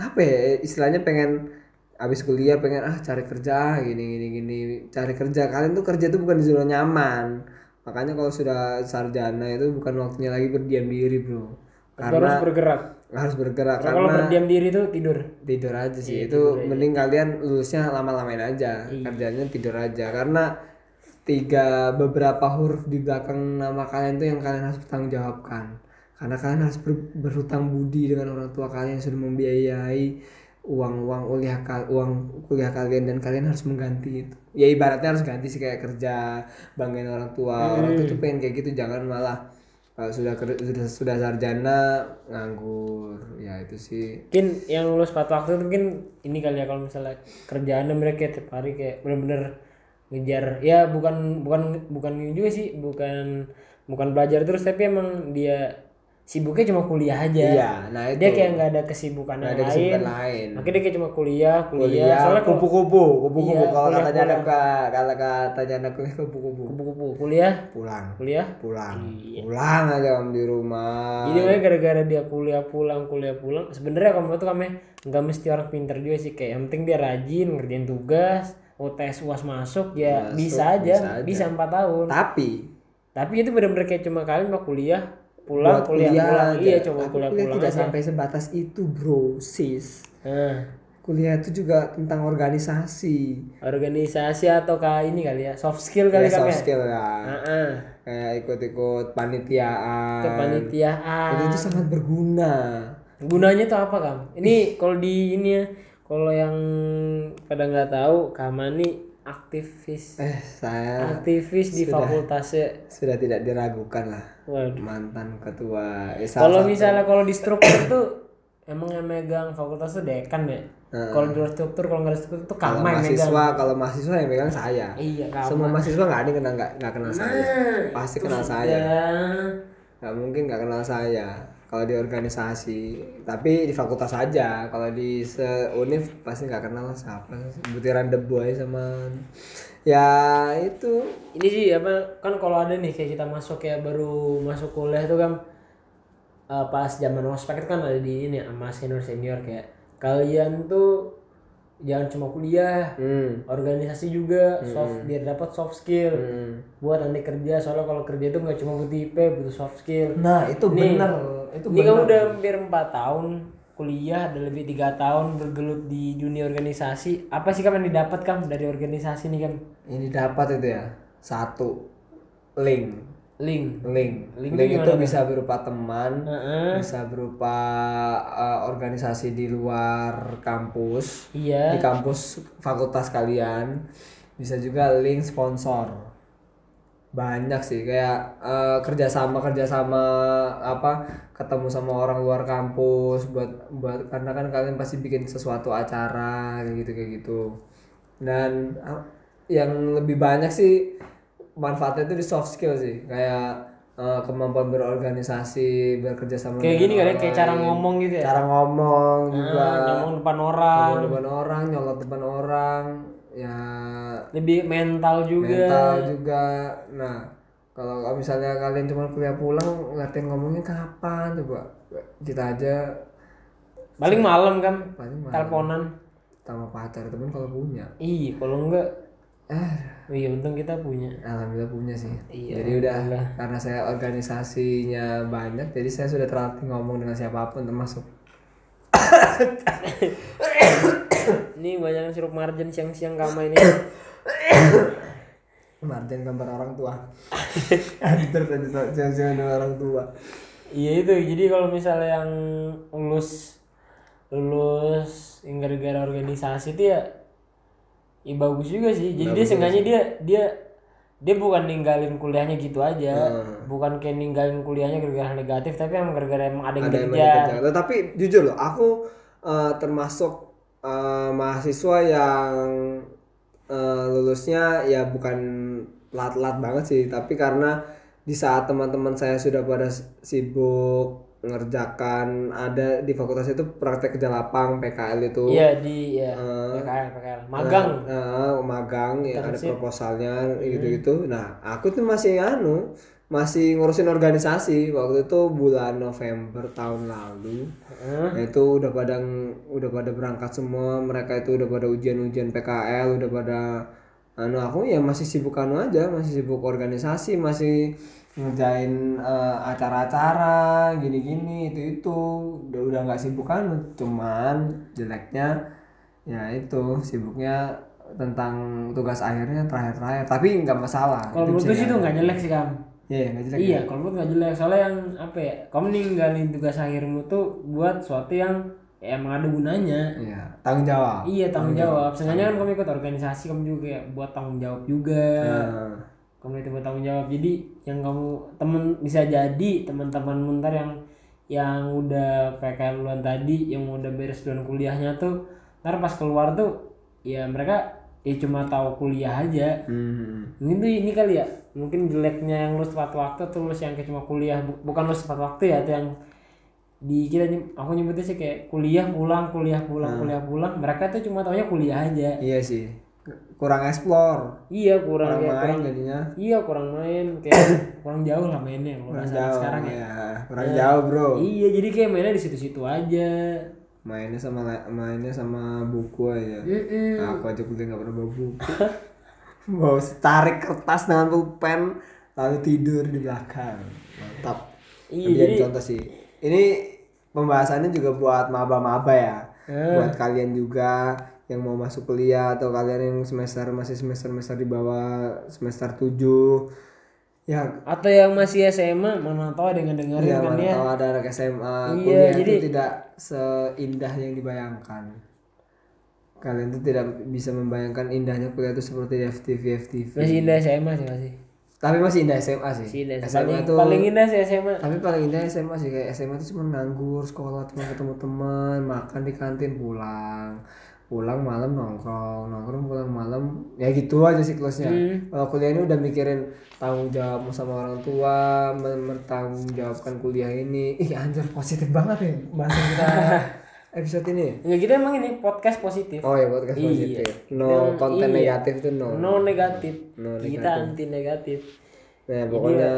Speaker 3: apa ya istilahnya pengen abis kuliah pengen ah cari kerja gini gini gini cari kerja kalian tuh kerja tuh bukan di zona nyaman makanya kalau sudah sarjana itu bukan waktunya lagi berdiam diri bro
Speaker 2: Harus
Speaker 3: karena
Speaker 2: bergerak.
Speaker 3: harus bergerak
Speaker 2: Kalau
Speaker 3: karena
Speaker 2: berdiam diri itu tidur.
Speaker 3: Iya, tidur aja Iya. sih itu mending kalian lulusnya lama-lamain aja kerjanya tidur aja karena tiga beberapa huruf di belakang nama kalian tuh yang kalian harus bertanggung jawabkan karena kalian harus ber- berhutang budi dengan orang tua kalian yang sudah membiayai uang uang kuliah kal- uang kuliah kalian dan kalian harus mengganti itu ya ibaratnya harus ganti sih kayak kerja banggain orang tua orang tua tuh pengen kayak gitu jangan malah kalau sudah ker- sudah sudah sarjana nganggur ya itu sih
Speaker 2: mungkin yang lulus tepat waktu itu mungkin ini kali ya kalau misalnya kerjaannya mereka tiap hari kayak bener-bener ngejar ya bukan bukan bukan ini juga sih bukan bukan belajar terus tapi emang dia sibuknya cuma kuliah aja
Speaker 3: Iya, nah itu.
Speaker 2: dia kayak nggak ada kesibukan
Speaker 3: Nggak
Speaker 2: yang
Speaker 3: ada
Speaker 2: lain
Speaker 3: kesibukan lain.
Speaker 2: makanya dia kayak cuma kuliah kuliah,
Speaker 3: Kuliah,
Speaker 2: soalnya kalau-
Speaker 3: kupu-kupu, kupu-kupu.
Speaker 2: Iya,
Speaker 3: kalau
Speaker 2: kuliah
Speaker 3: katanya anak
Speaker 2: pulang.
Speaker 3: ka- kalau katanya anak kuliah kupu-kupu.
Speaker 2: kupu-kupu kuliah
Speaker 3: Pulang,
Speaker 2: kuliah
Speaker 3: pulang,
Speaker 2: Iya.
Speaker 3: pulang aja kamu di rumah.
Speaker 2: Jadi makanya gara-gara dia kuliah pulang kuliah pulang sebenarnya kamu tuh kami nggak mesti orang pinter juga sih kayak yang penting dia rajin ngerjain tugas UTS uas masuk ya
Speaker 3: Masuk,
Speaker 2: bisa aja
Speaker 3: bisa aja.
Speaker 2: bisa empat tahun
Speaker 3: Tapi
Speaker 2: tapi itu benar-benar kayak cuma kalian mau kuliah pulang
Speaker 3: buat
Speaker 2: kuliah, pulang
Speaker 3: aja.
Speaker 2: iya cuma
Speaker 3: Tapi
Speaker 2: kuliah pulang
Speaker 3: tidak
Speaker 2: aja.
Speaker 3: sampai sebatas itu bro sis
Speaker 2: Nah,
Speaker 3: kuliah itu juga tentang organisasi
Speaker 2: organisasi atau kayak ini kali ya soft skill kali
Speaker 3: Ya,
Speaker 2: kan
Speaker 3: soft
Speaker 2: ya
Speaker 3: skill lah
Speaker 2: Heeh.
Speaker 3: kayak ikut-ikut panitiaan
Speaker 2: kepanitiaan
Speaker 3: Ah. itu, itu sangat berguna
Speaker 2: gunanya tuh apa kam ini kalau di ini ya kalau yang pada nggak tahu kamani aktivis
Speaker 3: eh saya
Speaker 2: aktivis di fakultasnya
Speaker 3: sudah tidak diragukan lah
Speaker 2: waduh
Speaker 3: mantan ketua eh, salah
Speaker 2: kalau
Speaker 3: satu.
Speaker 2: misalnya kalau di struktur tuh emang yang megang fakultas tuh dekan ya kalau di luar struktur kalau nggak ada struktur tuh
Speaker 3: kalau
Speaker 2: kama yang megang
Speaker 3: mahasiswa kalau mahasiswa yang pegang saya
Speaker 2: iya Nah.
Speaker 3: semua
Speaker 2: kama
Speaker 3: mahasiswa nggak ada yang kenal nggak nggak kenal saya pasti
Speaker 2: itu
Speaker 3: kenal
Speaker 2: sudah.
Speaker 3: saya nggak mungkin nggak kenal saya kalau di organisasi tapi di fakultas aja kalau di univ pasti nggak kenal siapa butiran debu aja sama ya itu
Speaker 2: ini sih apa kan kalau ada nih kayak kita masuk ya baru masuk kuliah tuh kan eh, pas zaman ospek itu kan ada di ini ya, sama senior senior kayak kalian tuh jangan cuma kuliah
Speaker 3: hmm.
Speaker 2: organisasi juga soft biar dapat soft skill
Speaker 3: Hmm.
Speaker 2: buat nanti kerja soalnya kalau kerja itu nggak cuma butuh IP butuh soft skill
Speaker 3: nah itu
Speaker 2: Nih,
Speaker 3: benar itu
Speaker 2: ini kamu udah hampir 4 tahun kuliah ada lebih tiga tahun bergelut di dunia organisasi apa sih kamu yang didapat kamu dari organisasi nih kan
Speaker 3: ini dapat itu ya satu link
Speaker 2: link
Speaker 3: link
Speaker 2: Link itu
Speaker 3: link, itu
Speaker 2: gimana? Nah.
Speaker 3: bisa berupa teman
Speaker 2: Heeh.
Speaker 3: bisa berupa eh, organisasi di luar kampus
Speaker 2: iya
Speaker 3: di kampus fakultas kalian bisa juga link sponsor banyak sih kayak eh, kerjasama kerjasama apa ketemu sama orang luar kampus buat buat karena kan kalian pasti bikin sesuatu acara kayak gitu kayak gitu dan ah, yang lebih banyak sih manfaatnya itu di soft skill sih kayak eh, kemampuan berorganisasi bekerja
Speaker 2: kayak
Speaker 3: sama dengan
Speaker 2: gini kan ya,
Speaker 3: orang
Speaker 2: kayak cara
Speaker 3: lain.
Speaker 2: ngomong gitu ya
Speaker 3: cara ngomong juga
Speaker 2: Ah, ngomong depan orang
Speaker 3: Ngomong depan orang nyolot depan orang ya
Speaker 2: lebih mental juga
Speaker 3: mental juga nah kalau kalau misalnya kalian cuma kuliah pulang latihan ngomongnya kapan coba kita aja
Speaker 2: paling malam kan
Speaker 3: paling mah
Speaker 2: teleponan
Speaker 3: sama pacar temen kalau punya
Speaker 2: ih kalau enggak
Speaker 3: eh
Speaker 2: oh iya untung kita punya
Speaker 3: alhamdulillah punya sih
Speaker 2: Iya,
Speaker 3: jadi udah
Speaker 2: alhamdulillah.
Speaker 3: karena saya organisasinya banyak jadi saya sudah terlatih ngomong dengan siapapun termasuk
Speaker 2: ini banyak yang sirup margin siang-siang kamar ini
Speaker 3: Martin gambar orang tua Hancur tadi so- jangan-jangan dengan orang tua
Speaker 2: Iya itu jadi kalau misalnya yang lulus lulus yang gara-gara organisasi itu ya, ya bagus juga sih. Jadi dia sengaja dia dia dia bukan ninggalin kuliahnya gitu aja, bukan kayak ninggalin kuliahnya gara-gara negatif, tapi emang gara-gara emang ada yang
Speaker 3: ada yang
Speaker 2: kerja.
Speaker 3: banyak kerjaan. Loh, tapi jujur loh aku eh, termasuk eh, mahasiswa yang eh, lulusnya ya bukan lat-lat banget sih tapi karena di saat teman-teman saya sudah pada s- sibuk ngerjakan ada di fakultas itu praktek kerja lapang PKL itu
Speaker 2: Iya di ya
Speaker 3: Eh,
Speaker 2: PKL PKL magang.
Speaker 3: Nah, eh, magang ya ada
Speaker 2: Internship.
Speaker 3: proposalnya
Speaker 2: Hmm.
Speaker 3: gitu-gitu. Nah, aku tuh masih anu, masih ngurusin organisasi waktu itu bulan November tahun lalu.
Speaker 2: Heeh.
Speaker 3: Nah, itu udah pada udah pada berangkat semua, mereka itu udah pada ujian-ujian PKL, udah pada anu aku ya masih sibuk anu aja, masih sibuk organisasi, masih ngerjain eh, acara-acara gini-gini itu itu udah udah nggak sibuk anu cuman jeleknya ya itu sibuknya tentang tugas akhirnya terakhir-terakhir tapi nggak masalah
Speaker 2: Kalau menurut gue sih itu nggak jelek sih kam.
Speaker 3: iya nggak jelek
Speaker 2: Iya kalau menurut nggak jelek soalnya yang apa ya, kamu ninggalin tugas akhirmu tuh buat suatu yang ya, emang ada gunanya.
Speaker 3: Iya, tanggung jawab
Speaker 2: Iya tanggung jawab. Sengaja kan kamu ikut organisasi kamu juga kayak buat tanggung jawab juga.
Speaker 3: Nah,
Speaker 2: Kamu itu buat tanggung jawab. Jadi yang kamu temen bisa jadi teman-teman ntar yang yang udah PKL duluan tadi, yang udah beres duluan kuliahnya tuh, ntar pas keluar tuh ya mereka ya cuma tahu kuliah aja.
Speaker 3: hmm.
Speaker 2: Mungkin tuh ini kali ya mungkin jeleknya yang lulus tepat waktu atau lulus yang kayak cuma kuliah Bu- bukan lulus tepat waktu ya atau yang di kita nyem- aku nyebutnya sih kayak kuliah pulang kuliah
Speaker 3: Hmm.
Speaker 2: pulang kuliah pulang mereka tuh cuma taunya kuliah aja
Speaker 3: Iya sih. Kurang explore,
Speaker 2: iya kurang kayak
Speaker 3: kurang main gitu.
Speaker 2: kurang
Speaker 3: jadinya.
Speaker 2: iya kurang main kayak kurang jauh lah mainnya kalau
Speaker 3: Kurang
Speaker 2: bahasa
Speaker 3: jauh.
Speaker 2: sekarang ya
Speaker 3: ya. Kurang jauh, Bro.
Speaker 2: iya jadi kayak mainnya di situ-situ aja
Speaker 3: Mainnya sama la- mainnya sama buku aja.
Speaker 2: Mm-mm.
Speaker 3: Nah, Aku aja kuliah nggak pernah bawa buku. Hmm. bawa tarik kertas dengan pulpen lalu tidur di belakang. Mantap.
Speaker 2: Iya,
Speaker 3: Dia
Speaker 2: jadi-
Speaker 3: contoh sih. Ini pembahasannya juga buat maba-maba ya. Buat kalian juga yang mau masuk kuliah atau kalian yang semester masih semester-semester di bawah semester 7 ya
Speaker 2: atau yang masih SMA mana tahu ada yang dengerin
Speaker 3: Iya,
Speaker 2: kan
Speaker 3: mana
Speaker 2: ya
Speaker 3: tahu ada anak SMA
Speaker 2: Iya,
Speaker 3: kuliah itu
Speaker 2: jadi-
Speaker 3: tidak seindah yang dibayangkan. Kalian tuh tidak bisa membayangkan indahnya kuliah itu seperti FTV FTV.
Speaker 2: masih indah SMA sih masih
Speaker 3: Tapi masih indah SMA sih.
Speaker 2: Masih indah
Speaker 3: SMA
Speaker 2: paling,
Speaker 3: tuh
Speaker 2: paling indah sih SMA
Speaker 3: tapi paling indah SMA sih kayak SMA tuh cuma nganggur sekolah cuma ketemu teman makan di kantin pulang pulang malam nongkrong nongkrong pulang malam ya gitu aja siklusnya
Speaker 2: Hmm.
Speaker 3: kalau kuliah ini udah mikirin tanggung jawab sama orang tua men- bertanggung jawabkan kuliah ini ih anjir positif banget ya bahasan kita episode ini
Speaker 2: ya kita emang ini podcast positif
Speaker 3: oh ya podcast
Speaker 2: Iya.
Speaker 3: positif no
Speaker 2: Yang-
Speaker 3: konten
Speaker 2: iya.
Speaker 3: negatif tuh no
Speaker 2: no negatif
Speaker 3: No
Speaker 2: kita anti negatif
Speaker 3: nah pokoknya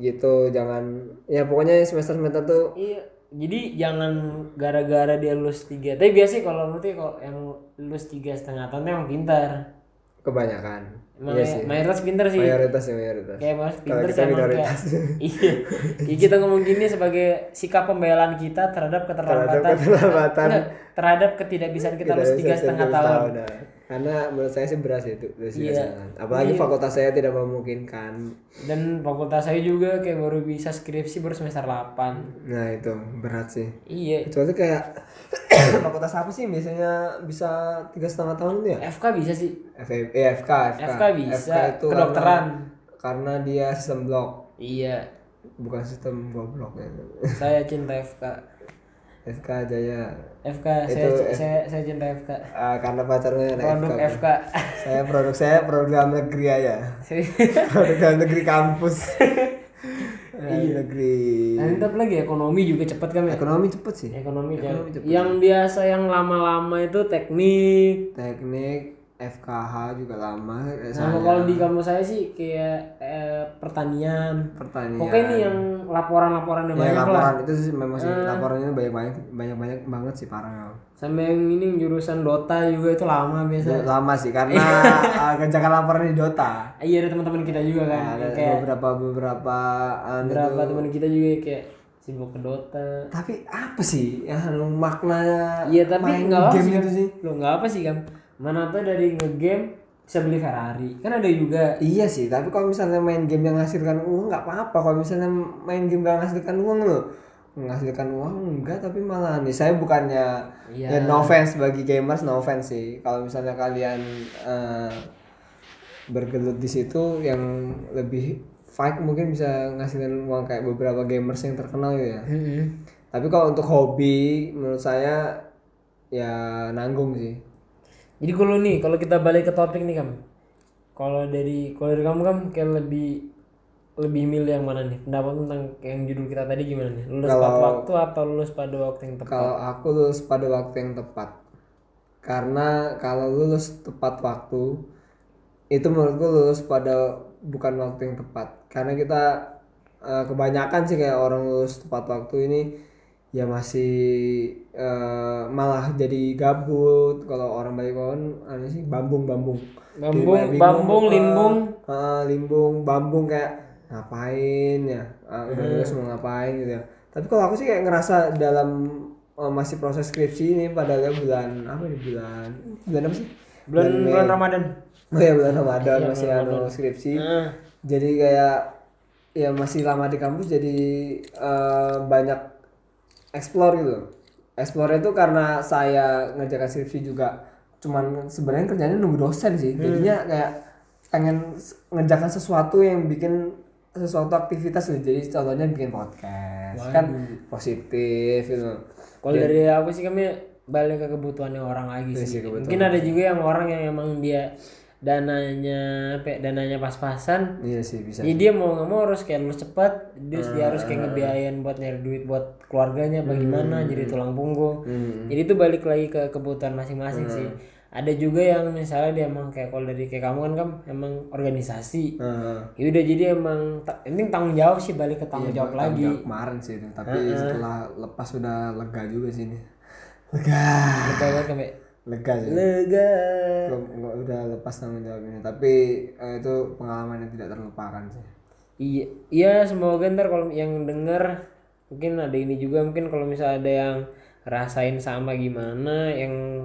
Speaker 2: ya.
Speaker 3: gitu jangan ya pokoknya semester semester tuh
Speaker 2: iya jadi jangan gara-gara dia lulus tiga tapi biasa sih kalau menurut gue kalau yang lulus tiga setengah tahun tuh emang pintar
Speaker 3: kebanyakan
Speaker 2: emang ya, mayoritas pintar sih
Speaker 3: Iya mayoritas ya mayoritas
Speaker 2: kayak mas
Speaker 3: Kalau
Speaker 2: pinter
Speaker 3: kita
Speaker 2: sama kayak
Speaker 3: minoritas.
Speaker 2: iya Kayak kita ngomong gini sebagai sikap pembelaan kita terhadap
Speaker 3: terhadap
Speaker 2: keterlambatan
Speaker 3: keterlambatan
Speaker 2: Enggak, terhadap ketidakbisaan kita lulus tiga setengah tahun
Speaker 3: nah. karena menurut saya sih beras itu lulus tiga
Speaker 2: Iya.
Speaker 3: setengah. apalagi fakultas saya tidak memungkinkan
Speaker 2: dan fakultas saya juga kayak baru bisa skripsi baru semester 8
Speaker 3: nah itu berat sih
Speaker 2: iya
Speaker 3: kecuali kayak fakultas apa sih yang biasanya bisa tiga setengah tahun itu ya
Speaker 2: FK bisa sih
Speaker 3: FK eh, FK FK,
Speaker 2: FK bisa,
Speaker 3: itu
Speaker 2: kedokteran.
Speaker 3: karena, karena dia sistem blok
Speaker 2: iya
Speaker 3: bukan sistem goblok ya
Speaker 2: saya cinta FK
Speaker 3: FK Jaya
Speaker 2: FK saya, saya saya cinta FK
Speaker 3: ya. Ah, karena pacarnya anak
Speaker 2: produk
Speaker 3: FK.
Speaker 2: FK
Speaker 3: saya produk saya produk dalam negeri aja produk dalam negeri kampus iya negeri
Speaker 2: mantap lagi ekonomi juga cepet kan ya
Speaker 3: ekonomi cepet sih
Speaker 2: ekonomi, kan. yang biasa yang lama-lama itu teknik
Speaker 3: teknik FKH juga lama eh,
Speaker 2: sama kalau di kampus saya sih kayak eh, pertanian
Speaker 3: pertanian
Speaker 2: pokoknya ini yang laporan-laporan yang Oh, banyak lah Eh.
Speaker 3: Ya, laporan itu sih memang sih laporannya banyak banyak banyak banyak banget sih parah
Speaker 2: sama yang ini jurusan Dota juga itu lama biasa
Speaker 3: lama sih karena ah, kerjakan laporan di Dota
Speaker 2: Ah, iya ada teman-teman kita juga kan
Speaker 3: ada
Speaker 2: yang kayak
Speaker 3: beberapa beberapa ah,
Speaker 2: berapa teman kita juga yang kayak sibuk ke Dota
Speaker 3: tapi apa sih yang makna
Speaker 2: iya tapi
Speaker 3: main
Speaker 2: nggak apa
Speaker 3: game
Speaker 2: sih kan
Speaker 3: itu sih
Speaker 2: lo nggak apa sih kan mana tuh dari ngegame bisa beli Ferrari kan ada juga
Speaker 3: Iya sih, tapi kalau misalnya main game yang menghasilkan uang nggak apa-apa. Kalau misalnya main game yang menghasilkan uang loh, menghasilkan uang enggak, tapi malah nih saya bukannya ya no offense bagi gamers, no offense sih. Kalau misalnya kalian eh, bergelut di situ yang lebih fight mungkin bisa ngasilin uang kayak beberapa gamers yang terkenal gitu ya. Tapi kalau untuk hobi, menurut saya ya nanggung sih.
Speaker 2: jadi kalau nih kalau kita balik ke topik nih kam kalau dari kalau dari kamu kam kayak lebih lebih milih yang mana nih pendapat tentang yang judul kita tadi gimana nih lulus pada waktu atau lulus pada waktu yang tepat
Speaker 3: Kalau aku lulus pada waktu yang tepat. Karena kalau lulus tepat waktu itu menurutku lulus pada bukan waktu yang tepat. Karena kita eh, kebanyakan sih kayak orang lulus tepat waktu ini ya masih eh, malah jadi gabut kalau orang Bali kon anu sih bambung-bambung.
Speaker 2: Bambung,
Speaker 3: Jadi
Speaker 2: bambung,
Speaker 3: eh,
Speaker 2: limbung.
Speaker 3: eh, limbung, bambung kayak ngapain ya Ah, udah lulus mau ngapain gitu ya tapi kalau aku sih kayak ngerasa dalam eh, masih proses skripsi ini padahal ya bulan apa nih bulan bulan apa sih
Speaker 2: bulan bulan Ramadan Nah.
Speaker 3: oh ya bulan Ramadan masih anu skripsi
Speaker 2: Heeh.
Speaker 3: jadi kayak ya masih lama di kampus jadi eh, banyak explore gitu explore itu karena saya ngerjakan skripsi juga cuman sebenarnya kerjanya nunggu dosen sih
Speaker 2: Hmm.
Speaker 3: jadinya kayak pengen s- ngerjakan sesuatu yang bikin sesuatu aktivitas gitu. jadi contohnya bikin podcast kan positif gitu
Speaker 2: Kalau dari aku sih kami balik ke kebutuhannya orang lagi sih. Mungkin ada juga yang orang yang emang dia dananya pe dananya pas-pasan
Speaker 3: Iya sih bisa.
Speaker 2: jadi dia mau nggak mau harus kayak lulus cepat dia, dia harus kayak ngebiayain buat nyari duit buat keluarganya bagaimana jadi tulang punggung jadi itu balik lagi ke kebutuhan masing-masing sih ada juga yang misalnya dia emang kayak kalau dari kayak kamu kan kamu emang organisasi
Speaker 3: Heeh.
Speaker 2: ya udah jadi emang ta- yang penting tanggung jawab sih balik ke Iya, tanggung jawab lagi
Speaker 3: Udah kemarin sih itu, tapi setelah lepas udah lega juga sih ini. Lega.
Speaker 2: Betul banget sampai
Speaker 3: Lega sih.
Speaker 2: lega
Speaker 3: ya? Gua- gua udah lepas tanggung jawab ini, tapi eh, itu pengalaman yang tidak terlupakan sih.
Speaker 2: Iya, iya semoga ntar kalau yang denger mungkin ada ini juga mungkin kalau misalnya ada yang rasain sama gimana yang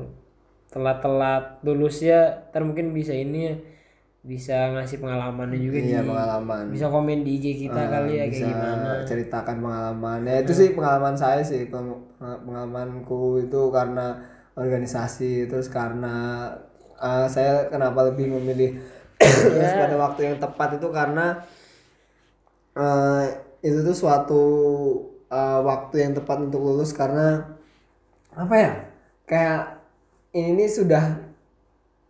Speaker 2: telat-telat lulusnya ntar mungkin bisa ini ya bisa ngasih pengalamannya juga
Speaker 3: Iya
Speaker 2: di-
Speaker 3: pengalaman. Eh, Ah,
Speaker 2: bisa komen di IG kita kali ya kayak
Speaker 3: bisa
Speaker 2: gimana Iya.
Speaker 3: ceritakan pengalaman ya itu sih pengalaman saya sih peng- pengalamanku itu karena organisasi terus karena eh, saya kenapa lebih memilih terus
Speaker 2: Iya.
Speaker 3: pada waktu yang tepat itu karena eh, itu tuh suatu eh, waktu yang tepat untuk lulus karena apa ya kayak ini nih sudah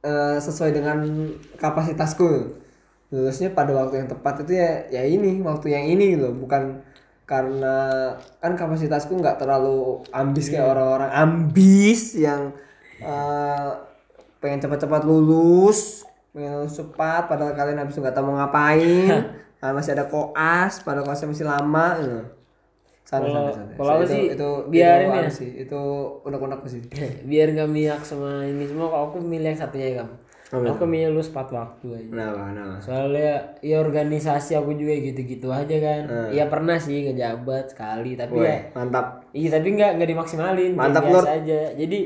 Speaker 3: eh, sesuai dengan kapasitasku lulusnya pada waktu yang tepat itu ya ya ini waktu yang ini gitu loh bukan karena kan kapasitasku nggak terlalu ambis
Speaker 2: Iya.
Speaker 3: kayak orang-orang ambis yang eh, pengen cepat-cepat lulus pengen lulus cepat padahal kalian habis itu nggak tahu mau ngapain Ah, masih ada koas padahal koasnya masih lama gitu. Santai,
Speaker 2: Kalau-
Speaker 3: santai, santai.
Speaker 2: Oh, kalau aku
Speaker 3: itu,
Speaker 2: sih
Speaker 3: itu,
Speaker 2: biarin
Speaker 3: itu,
Speaker 2: ya.
Speaker 3: anu sih, itu unek-unekku sih.
Speaker 2: biar nggak miak sama ini semua kalau aku milih yang satunya ya kamu
Speaker 3: Apa
Speaker 2: aku milih lulus tepat waktu aja
Speaker 3: Kenapa? Kenapa?
Speaker 2: soalnya ya organisasi aku juga gitu-gitu aja
Speaker 3: Ah.
Speaker 2: kan Iya pernah sih ngejabat sekali tapi ya
Speaker 3: Mantap.
Speaker 2: Iya tapi nggak nggak dimaksimalin kayak
Speaker 3: Mantap,
Speaker 2: biasa aja. Jadi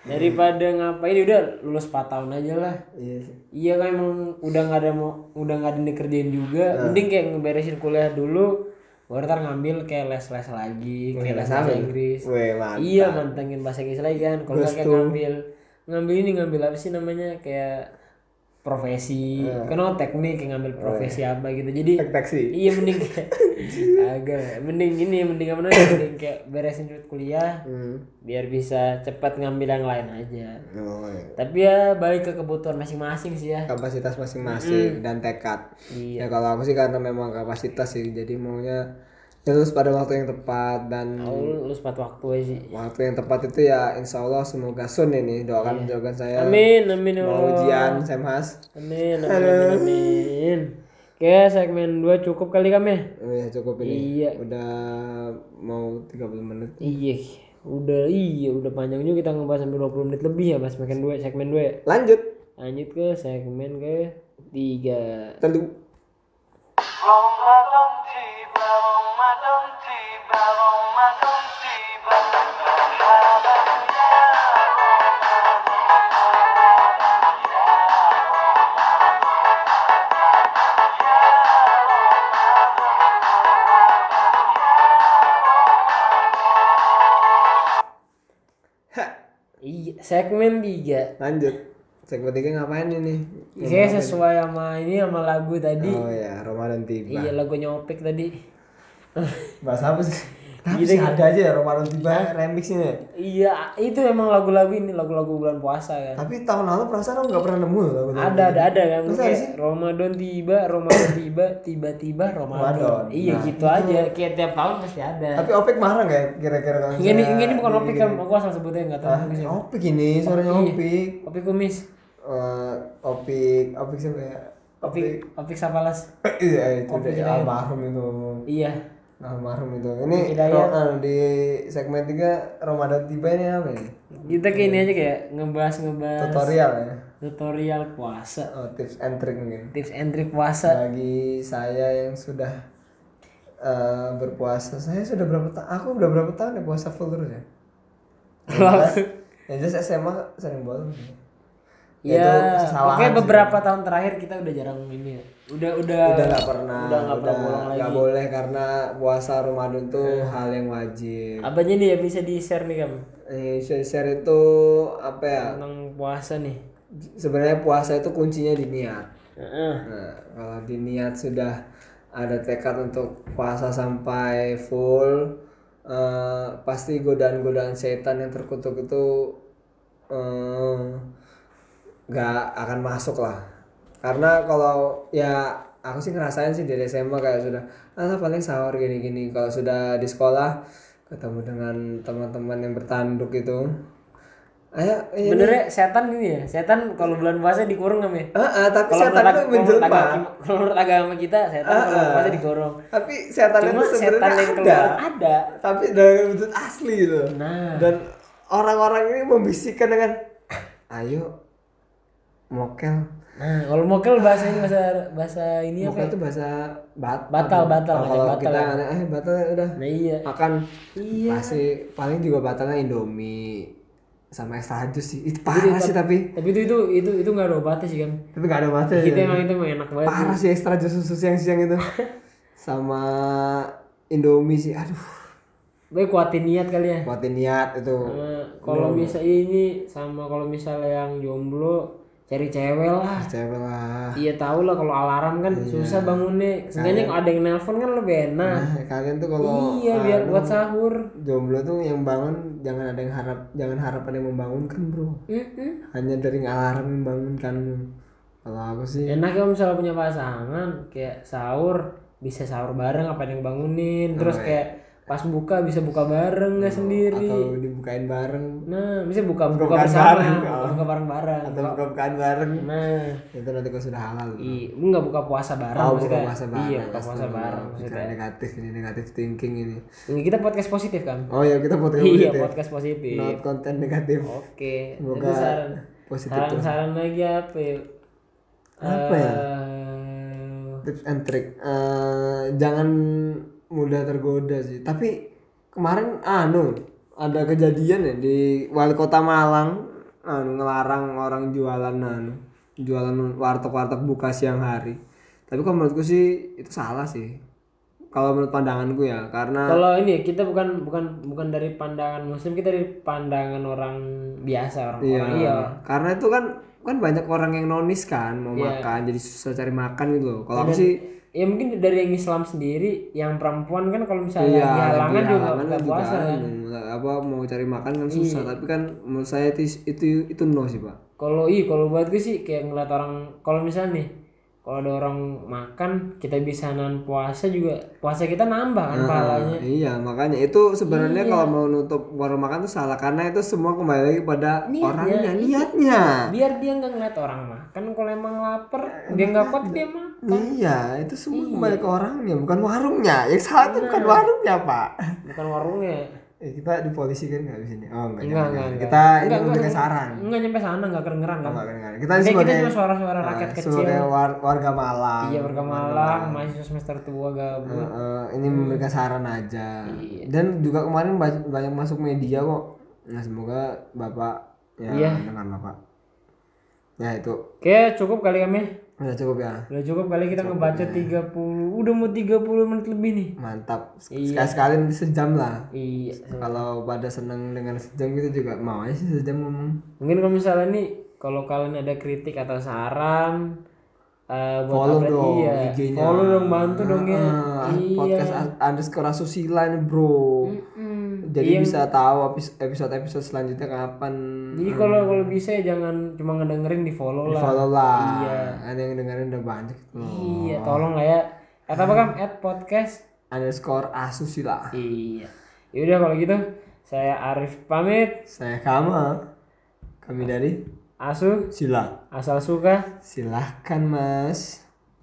Speaker 2: daripada ngapain ya udah lulus 4 tahun aja lah.
Speaker 3: Iya sih.
Speaker 2: Iya kan emang udah nggak ada mau udah nggak ada yang dikerjain juga.
Speaker 3: Nah.
Speaker 2: Mending kayak ngeberesin kuliah dulu. Baru ntar ngambil kayak les-les lagi, kayak les bahasa Inggris.
Speaker 3: Weh, ya? mantap.
Speaker 2: Iya mantengin bahasa Inggris lagi kan. Kalau nggak kayak ngambil ngambil ini ngambil apa sih namanya kayak profesi,
Speaker 3: Nah.
Speaker 2: karena teknik yang ngambil profesi apa gitu. Jadi
Speaker 3: Teksi.
Speaker 2: iya mending kayak agak mending ini mending apa namanya mending kayak beresin cepet kuliah
Speaker 3: Hmm.
Speaker 2: biar bisa cepat ngambil yang lain aja
Speaker 3: Oh, iya.
Speaker 2: tapi ya balik ke kebutuhan masing-masing sih ya
Speaker 3: kapasitas masing-masing dan tekad.
Speaker 2: Iya.
Speaker 3: Ya kalau aku sih karena memang kapasitas sih, jadi maunya ya lulus pada waktu yang tepat dan
Speaker 2: lu lu sempat waktu aja sih
Speaker 3: waktu yang tepat itu ya insya Allah semoga soon ini doakan doakan saya
Speaker 2: amin amin ya
Speaker 3: mau
Speaker 2: Allah.
Speaker 3: ujian semhas
Speaker 2: amin amin amin, amin. Oke, segmen 2 cukup kali kami ya?
Speaker 3: Oh, ya cukup ini
Speaker 2: Iya.
Speaker 3: udah mau 30 menit
Speaker 2: Iya, udah iya udah panjang juga kita ngebahas sampai 20 menit lebih ya bahas segmen 2 segmen 2 ya.
Speaker 3: lanjut
Speaker 2: Lanjut ke segmen ke 3.
Speaker 3: tentu
Speaker 1: Ramadan tiba, Ramadan tiba, Ramadan tiba.
Speaker 2: Iya, segmen 3.
Speaker 3: lanjut segmen tiga ngapain ini
Speaker 2: Saya Iya, sesuai sama ini sama lagu tadi.
Speaker 3: oh ya Ramadan tiba
Speaker 2: Iya lagu nyopik tadi.
Speaker 3: bahasa apa sih tapi sih ada aja ya Ramadan tiba remixnya ya.
Speaker 2: iya, itu emang lagu-lagu ini lagu-lagu bulan puasa kan.
Speaker 3: tapi tahun lalu perasaan aku nggak pernah nemu loh lagu
Speaker 2: Ada ada ada kan kayak Ramadan tiba, Ramadan tiba, tiba-tiba
Speaker 3: Ramadan.
Speaker 2: Ramadan. Iya gitu aja. Kayak tiap tahun pasti ada.
Speaker 3: tapi Opik marah nggak ya kira-kira kalau
Speaker 2: Ini ini, ini bukan opik kan, Iya. aku asal sebutnya enggak tahu.
Speaker 3: misalnya- Ah, Opik ini suaranya Opik
Speaker 2: Opik kumis,
Speaker 3: Eh, Opik Opik siapa ya
Speaker 2: opik opik sapalas.
Speaker 3: iya itu udah almarhum itu
Speaker 2: Iya.
Speaker 3: almarhum itu ini
Speaker 2: Hidayat.
Speaker 3: Ro- eh, di segmen 3 Ramadan tiba ini apa ini
Speaker 2: Kita kayak ini aja kayak ngebahas-ngebahas
Speaker 3: tutorial ya
Speaker 2: tutorial puasa,
Speaker 3: oh, tips and trick mungkin
Speaker 2: tips and trick puasa.
Speaker 3: bagi saya yang sudah eh, berpuasa saya sudah berapa tahun aku udah berapa tahun ya puasa full terus ya
Speaker 2: Kalau aku-
Speaker 3: yang jelas SMA sering bolong sih.
Speaker 2: Ya,
Speaker 3: Itu kesalahan
Speaker 2: pokoknya
Speaker 3: sih.
Speaker 2: beberapa tahun terakhir kita udah jarang ini ya. Udah udah
Speaker 3: udah nggak pernah
Speaker 2: udah nggak pernah bolong lagi. Eh.
Speaker 3: nggak boleh karena puasa Ramadan tuh hal yang wajib
Speaker 2: Apanya nih yang bisa di-share nih kamu
Speaker 3: Eh, share share itu apa ya
Speaker 2: tentang puasa nih?
Speaker 3: sebenarnya puasa itu kuncinya di niat
Speaker 2: Heeh.
Speaker 3: nah, kalau di niat sudah ada tekad untuk puasa sampai full eh, pasti godaan-godaan setan yang terkutuk itu eh, nggak akan masuk lah karena kalau ya aku sih ngerasain sih dari SMA kayak sudah alah paling sahur gini-gini kalau sudah di sekolah ketemu dengan teman-teman yang bertanduk itu ayo ini
Speaker 2: Bener ya setan gitu ya. Setan kalau bulan puasa dikurung sama ya.
Speaker 3: Ah, ah, tapi
Speaker 2: Kalau
Speaker 3: setan
Speaker 2: menurut,
Speaker 3: itu
Speaker 2: ag- menurut
Speaker 3: menjelma
Speaker 2: agama, kalau menurut agama kita setan kalau bulan puasa dikurung.
Speaker 3: tapi setan itu
Speaker 2: Cuma setan
Speaker 3: sebenarnya
Speaker 2: yang
Speaker 3: ada
Speaker 2: keluar ada.
Speaker 3: tapi dalam bentuk asli loh
Speaker 2: Nah.
Speaker 3: dan orang-orang ini membisikkan dengan "Ah, ayo mokel
Speaker 2: Nah, kalau mokel bahasa ini bahasa bahasa ini apa?
Speaker 3: mokel
Speaker 2: ya?
Speaker 3: itu bahasa bat
Speaker 2: Batal, batal,
Speaker 3: Kalau- kalau
Speaker 2: ngajak batal
Speaker 3: kita eh batal ya udah
Speaker 2: Nah iya.
Speaker 3: akan
Speaker 2: Iya.
Speaker 3: pasti paling juga batalnya indomie sama extra jus sih itu parah sih tapi
Speaker 2: Tapi itu itu itu itu nggak ada obatnya sih kan.
Speaker 3: tapi gak ada batal
Speaker 2: Kita
Speaker 3: ya.
Speaker 2: emang itu emang enak banget.
Speaker 3: parah sih extra jus susu siang-siang itu sama indomie sih aduh
Speaker 2: Gue kuatin niat kali ya.
Speaker 3: buatin niat itu
Speaker 2: Sama kalau misal ini sama kalau misalnya yang jomblo cari cewek lah.
Speaker 3: cewek lah
Speaker 2: Iya tahu lah kalau alarm
Speaker 3: Iya.
Speaker 2: kan susah bangunnya. Seenggaknya kalau ada yang nelpon kan lebih enak.
Speaker 3: Nah, kalian tuh kalau
Speaker 2: iya biar buat sahur.
Speaker 3: jomblo tuh yang bangun jangan ada yang harap jangan harap ada yang membangunkan bro
Speaker 2: Mm-mm.
Speaker 3: hanya dari alarm yang membangunkanmu kalau aku sih
Speaker 2: Enak ya kalau misalnya punya pasangan kayak sahur bisa sahur bareng apa yang bangunin
Speaker 3: Oh,
Speaker 2: terus
Speaker 3: iya.
Speaker 2: kayak pas buka bisa buka bareng nggak sendiri.
Speaker 3: atau dibukain bareng
Speaker 2: Nah, bisa buka buka,
Speaker 3: bukaan
Speaker 2: bersama,
Speaker 3: bareng,
Speaker 2: buka
Speaker 3: oh.
Speaker 2: buka bareng-bareng.
Speaker 3: atau buka bukaan bareng
Speaker 2: Nah,
Speaker 3: itu nanti kalau sudah halal bro.
Speaker 2: i, enggak buka puasa bareng
Speaker 3: Oh, buka
Speaker 2: Iya. maksudnya.
Speaker 3: puasa bareng.
Speaker 2: Iya, buka puasa
Speaker 3: Astagfirullah,
Speaker 2: bareng
Speaker 3: pikiran
Speaker 2: maksudnya.
Speaker 3: negatif ini negatif thinking ini.
Speaker 2: Ini kita podcast positif kan?
Speaker 3: Oh ya kita buat
Speaker 2: iya,
Speaker 3: positif.
Speaker 2: podcast Oh. positif.
Speaker 3: Not konten negatif.
Speaker 2: Oke.
Speaker 3: Semoga
Speaker 2: Itu saran.
Speaker 3: positif tuh.
Speaker 2: Saran-saran lagi apa ya?
Speaker 3: Apa ya?
Speaker 2: Eh,
Speaker 3: Tips and trick. Eh, jangan mudah tergoda sih. Tapi kemarin anu ada kejadian ya di wali kota Malang anu ngelarang orang jualan anu jualan warteg-warteg buka siang hari. Tapi kalau menurutku sih itu salah sih. Kalau menurut pandanganku ya karena
Speaker 2: Kalau ini ya, kita bukan bukan bukan dari pandangan muslim, kita dari pandangan orang biasa, orang orang iya.
Speaker 3: Karena itu kan kan banyak orang yang nonis kan mau
Speaker 2: Iya.
Speaker 3: makan jadi susah cari makan gitu loh. Kalau aku sih
Speaker 2: Ya mungkin dari yang Islam sendiri, yang perempuan kan kalau misalnya
Speaker 3: ya
Speaker 2: di halangan juga nggak
Speaker 3: halangan kan juga
Speaker 2: puasa kan.
Speaker 3: anu, apa mau cari makan kan
Speaker 2: Iya.
Speaker 3: susah tapi kan menurut saya itu itu, itu no sih pak.
Speaker 2: Kalau i, kalau buat gue sih kayak ngeliat orang, kalau misalnya nih, kalau ada orang makan, kita bisa nahan puasa juga, puasa kita nambah kan pahalanya.
Speaker 3: Iya makanya itu
Speaker 2: Iya.
Speaker 3: sebenarnya kalau mau nutup warung makan itu salah karena itu semua kembali lagi pada orangnya niatnya.
Speaker 2: Biar dia nggak ngeliat orang makan, kalau emang lapar, dia nggak kuat dia mah.
Speaker 3: Iya, itu semua kembali ke orangnya, bukan warungnya. Yang salah itu bukan warungnya, Pak.
Speaker 2: Bukan warungnya.
Speaker 3: Eh, kita dipolisikan nggak di sini? Oh,
Speaker 2: Enggak,
Speaker 3: enggak. jangan,
Speaker 2: enggak,
Speaker 3: jangan.
Speaker 2: enggak.
Speaker 3: Kita ini
Speaker 2: Enggak, enggak,
Speaker 3: memberikan
Speaker 2: enggak.
Speaker 3: saran.
Speaker 2: Nggak nyampe sana, nggak kedengeran kan.
Speaker 3: Enggak, enggak. Kita
Speaker 2: Kayak
Speaker 3: sebagai
Speaker 2: kita cuma suara-suara
Speaker 3: Nah,
Speaker 2: rakyat kecil.
Speaker 3: sebagai war- warga Malang.
Speaker 2: Iya warga Malang, mahasiswa semester tua gabut.
Speaker 3: Eh, ini
Speaker 2: Hmm.
Speaker 3: memberikan saran aja.
Speaker 2: Iya.
Speaker 3: Dan juga kemarin ba- banyak masuk media kok. Nah, semoga Bapak ya
Speaker 2: Iya.
Speaker 3: dengan Bapak. Ya itu
Speaker 2: Oke, cukup kali kami.
Speaker 3: udah cukup ya.
Speaker 2: Udah cukup kali kita ngebaca 30. Udah mau 30 menit lebih nih.
Speaker 3: Mantap.
Speaker 2: Iya.
Speaker 3: Sekali-sekali nanti sejam lah.
Speaker 2: Iya.
Speaker 3: Kalau pada seneng dengan sejam kita juga mau aja sih sejam ngomong.
Speaker 2: Mungkin kalau misalnya nih kalau kalian ada kritik atau saran eh buat
Speaker 3: Follow
Speaker 2: update,
Speaker 3: dong
Speaker 2: iya.
Speaker 3: IG-nya.
Speaker 2: Follow dong, bantu dong ya.
Speaker 3: Ah,
Speaker 2: Iya.
Speaker 3: podcast underscore asusila ini bro.
Speaker 2: Mm.
Speaker 3: Jadi bisa tahu episode episode selanjutnya kapan.
Speaker 2: Jadi Iya, kalau kalau bisa ya jangan cuma ngedengerin di follow lah.
Speaker 3: Hmm. Follow lah. Ada yang dengerin udah banyak. loh.
Speaker 2: Iya, tolong lah ya. Kata apa kan? At podcast.
Speaker 3: Underscore asusila.
Speaker 2: Iya. Yaudah kalau gitu saya Arif pamit.
Speaker 3: Saya Kama. Kami dari
Speaker 2: Asu
Speaker 3: Sila.
Speaker 2: asal suka.
Speaker 3: Silahkan mas.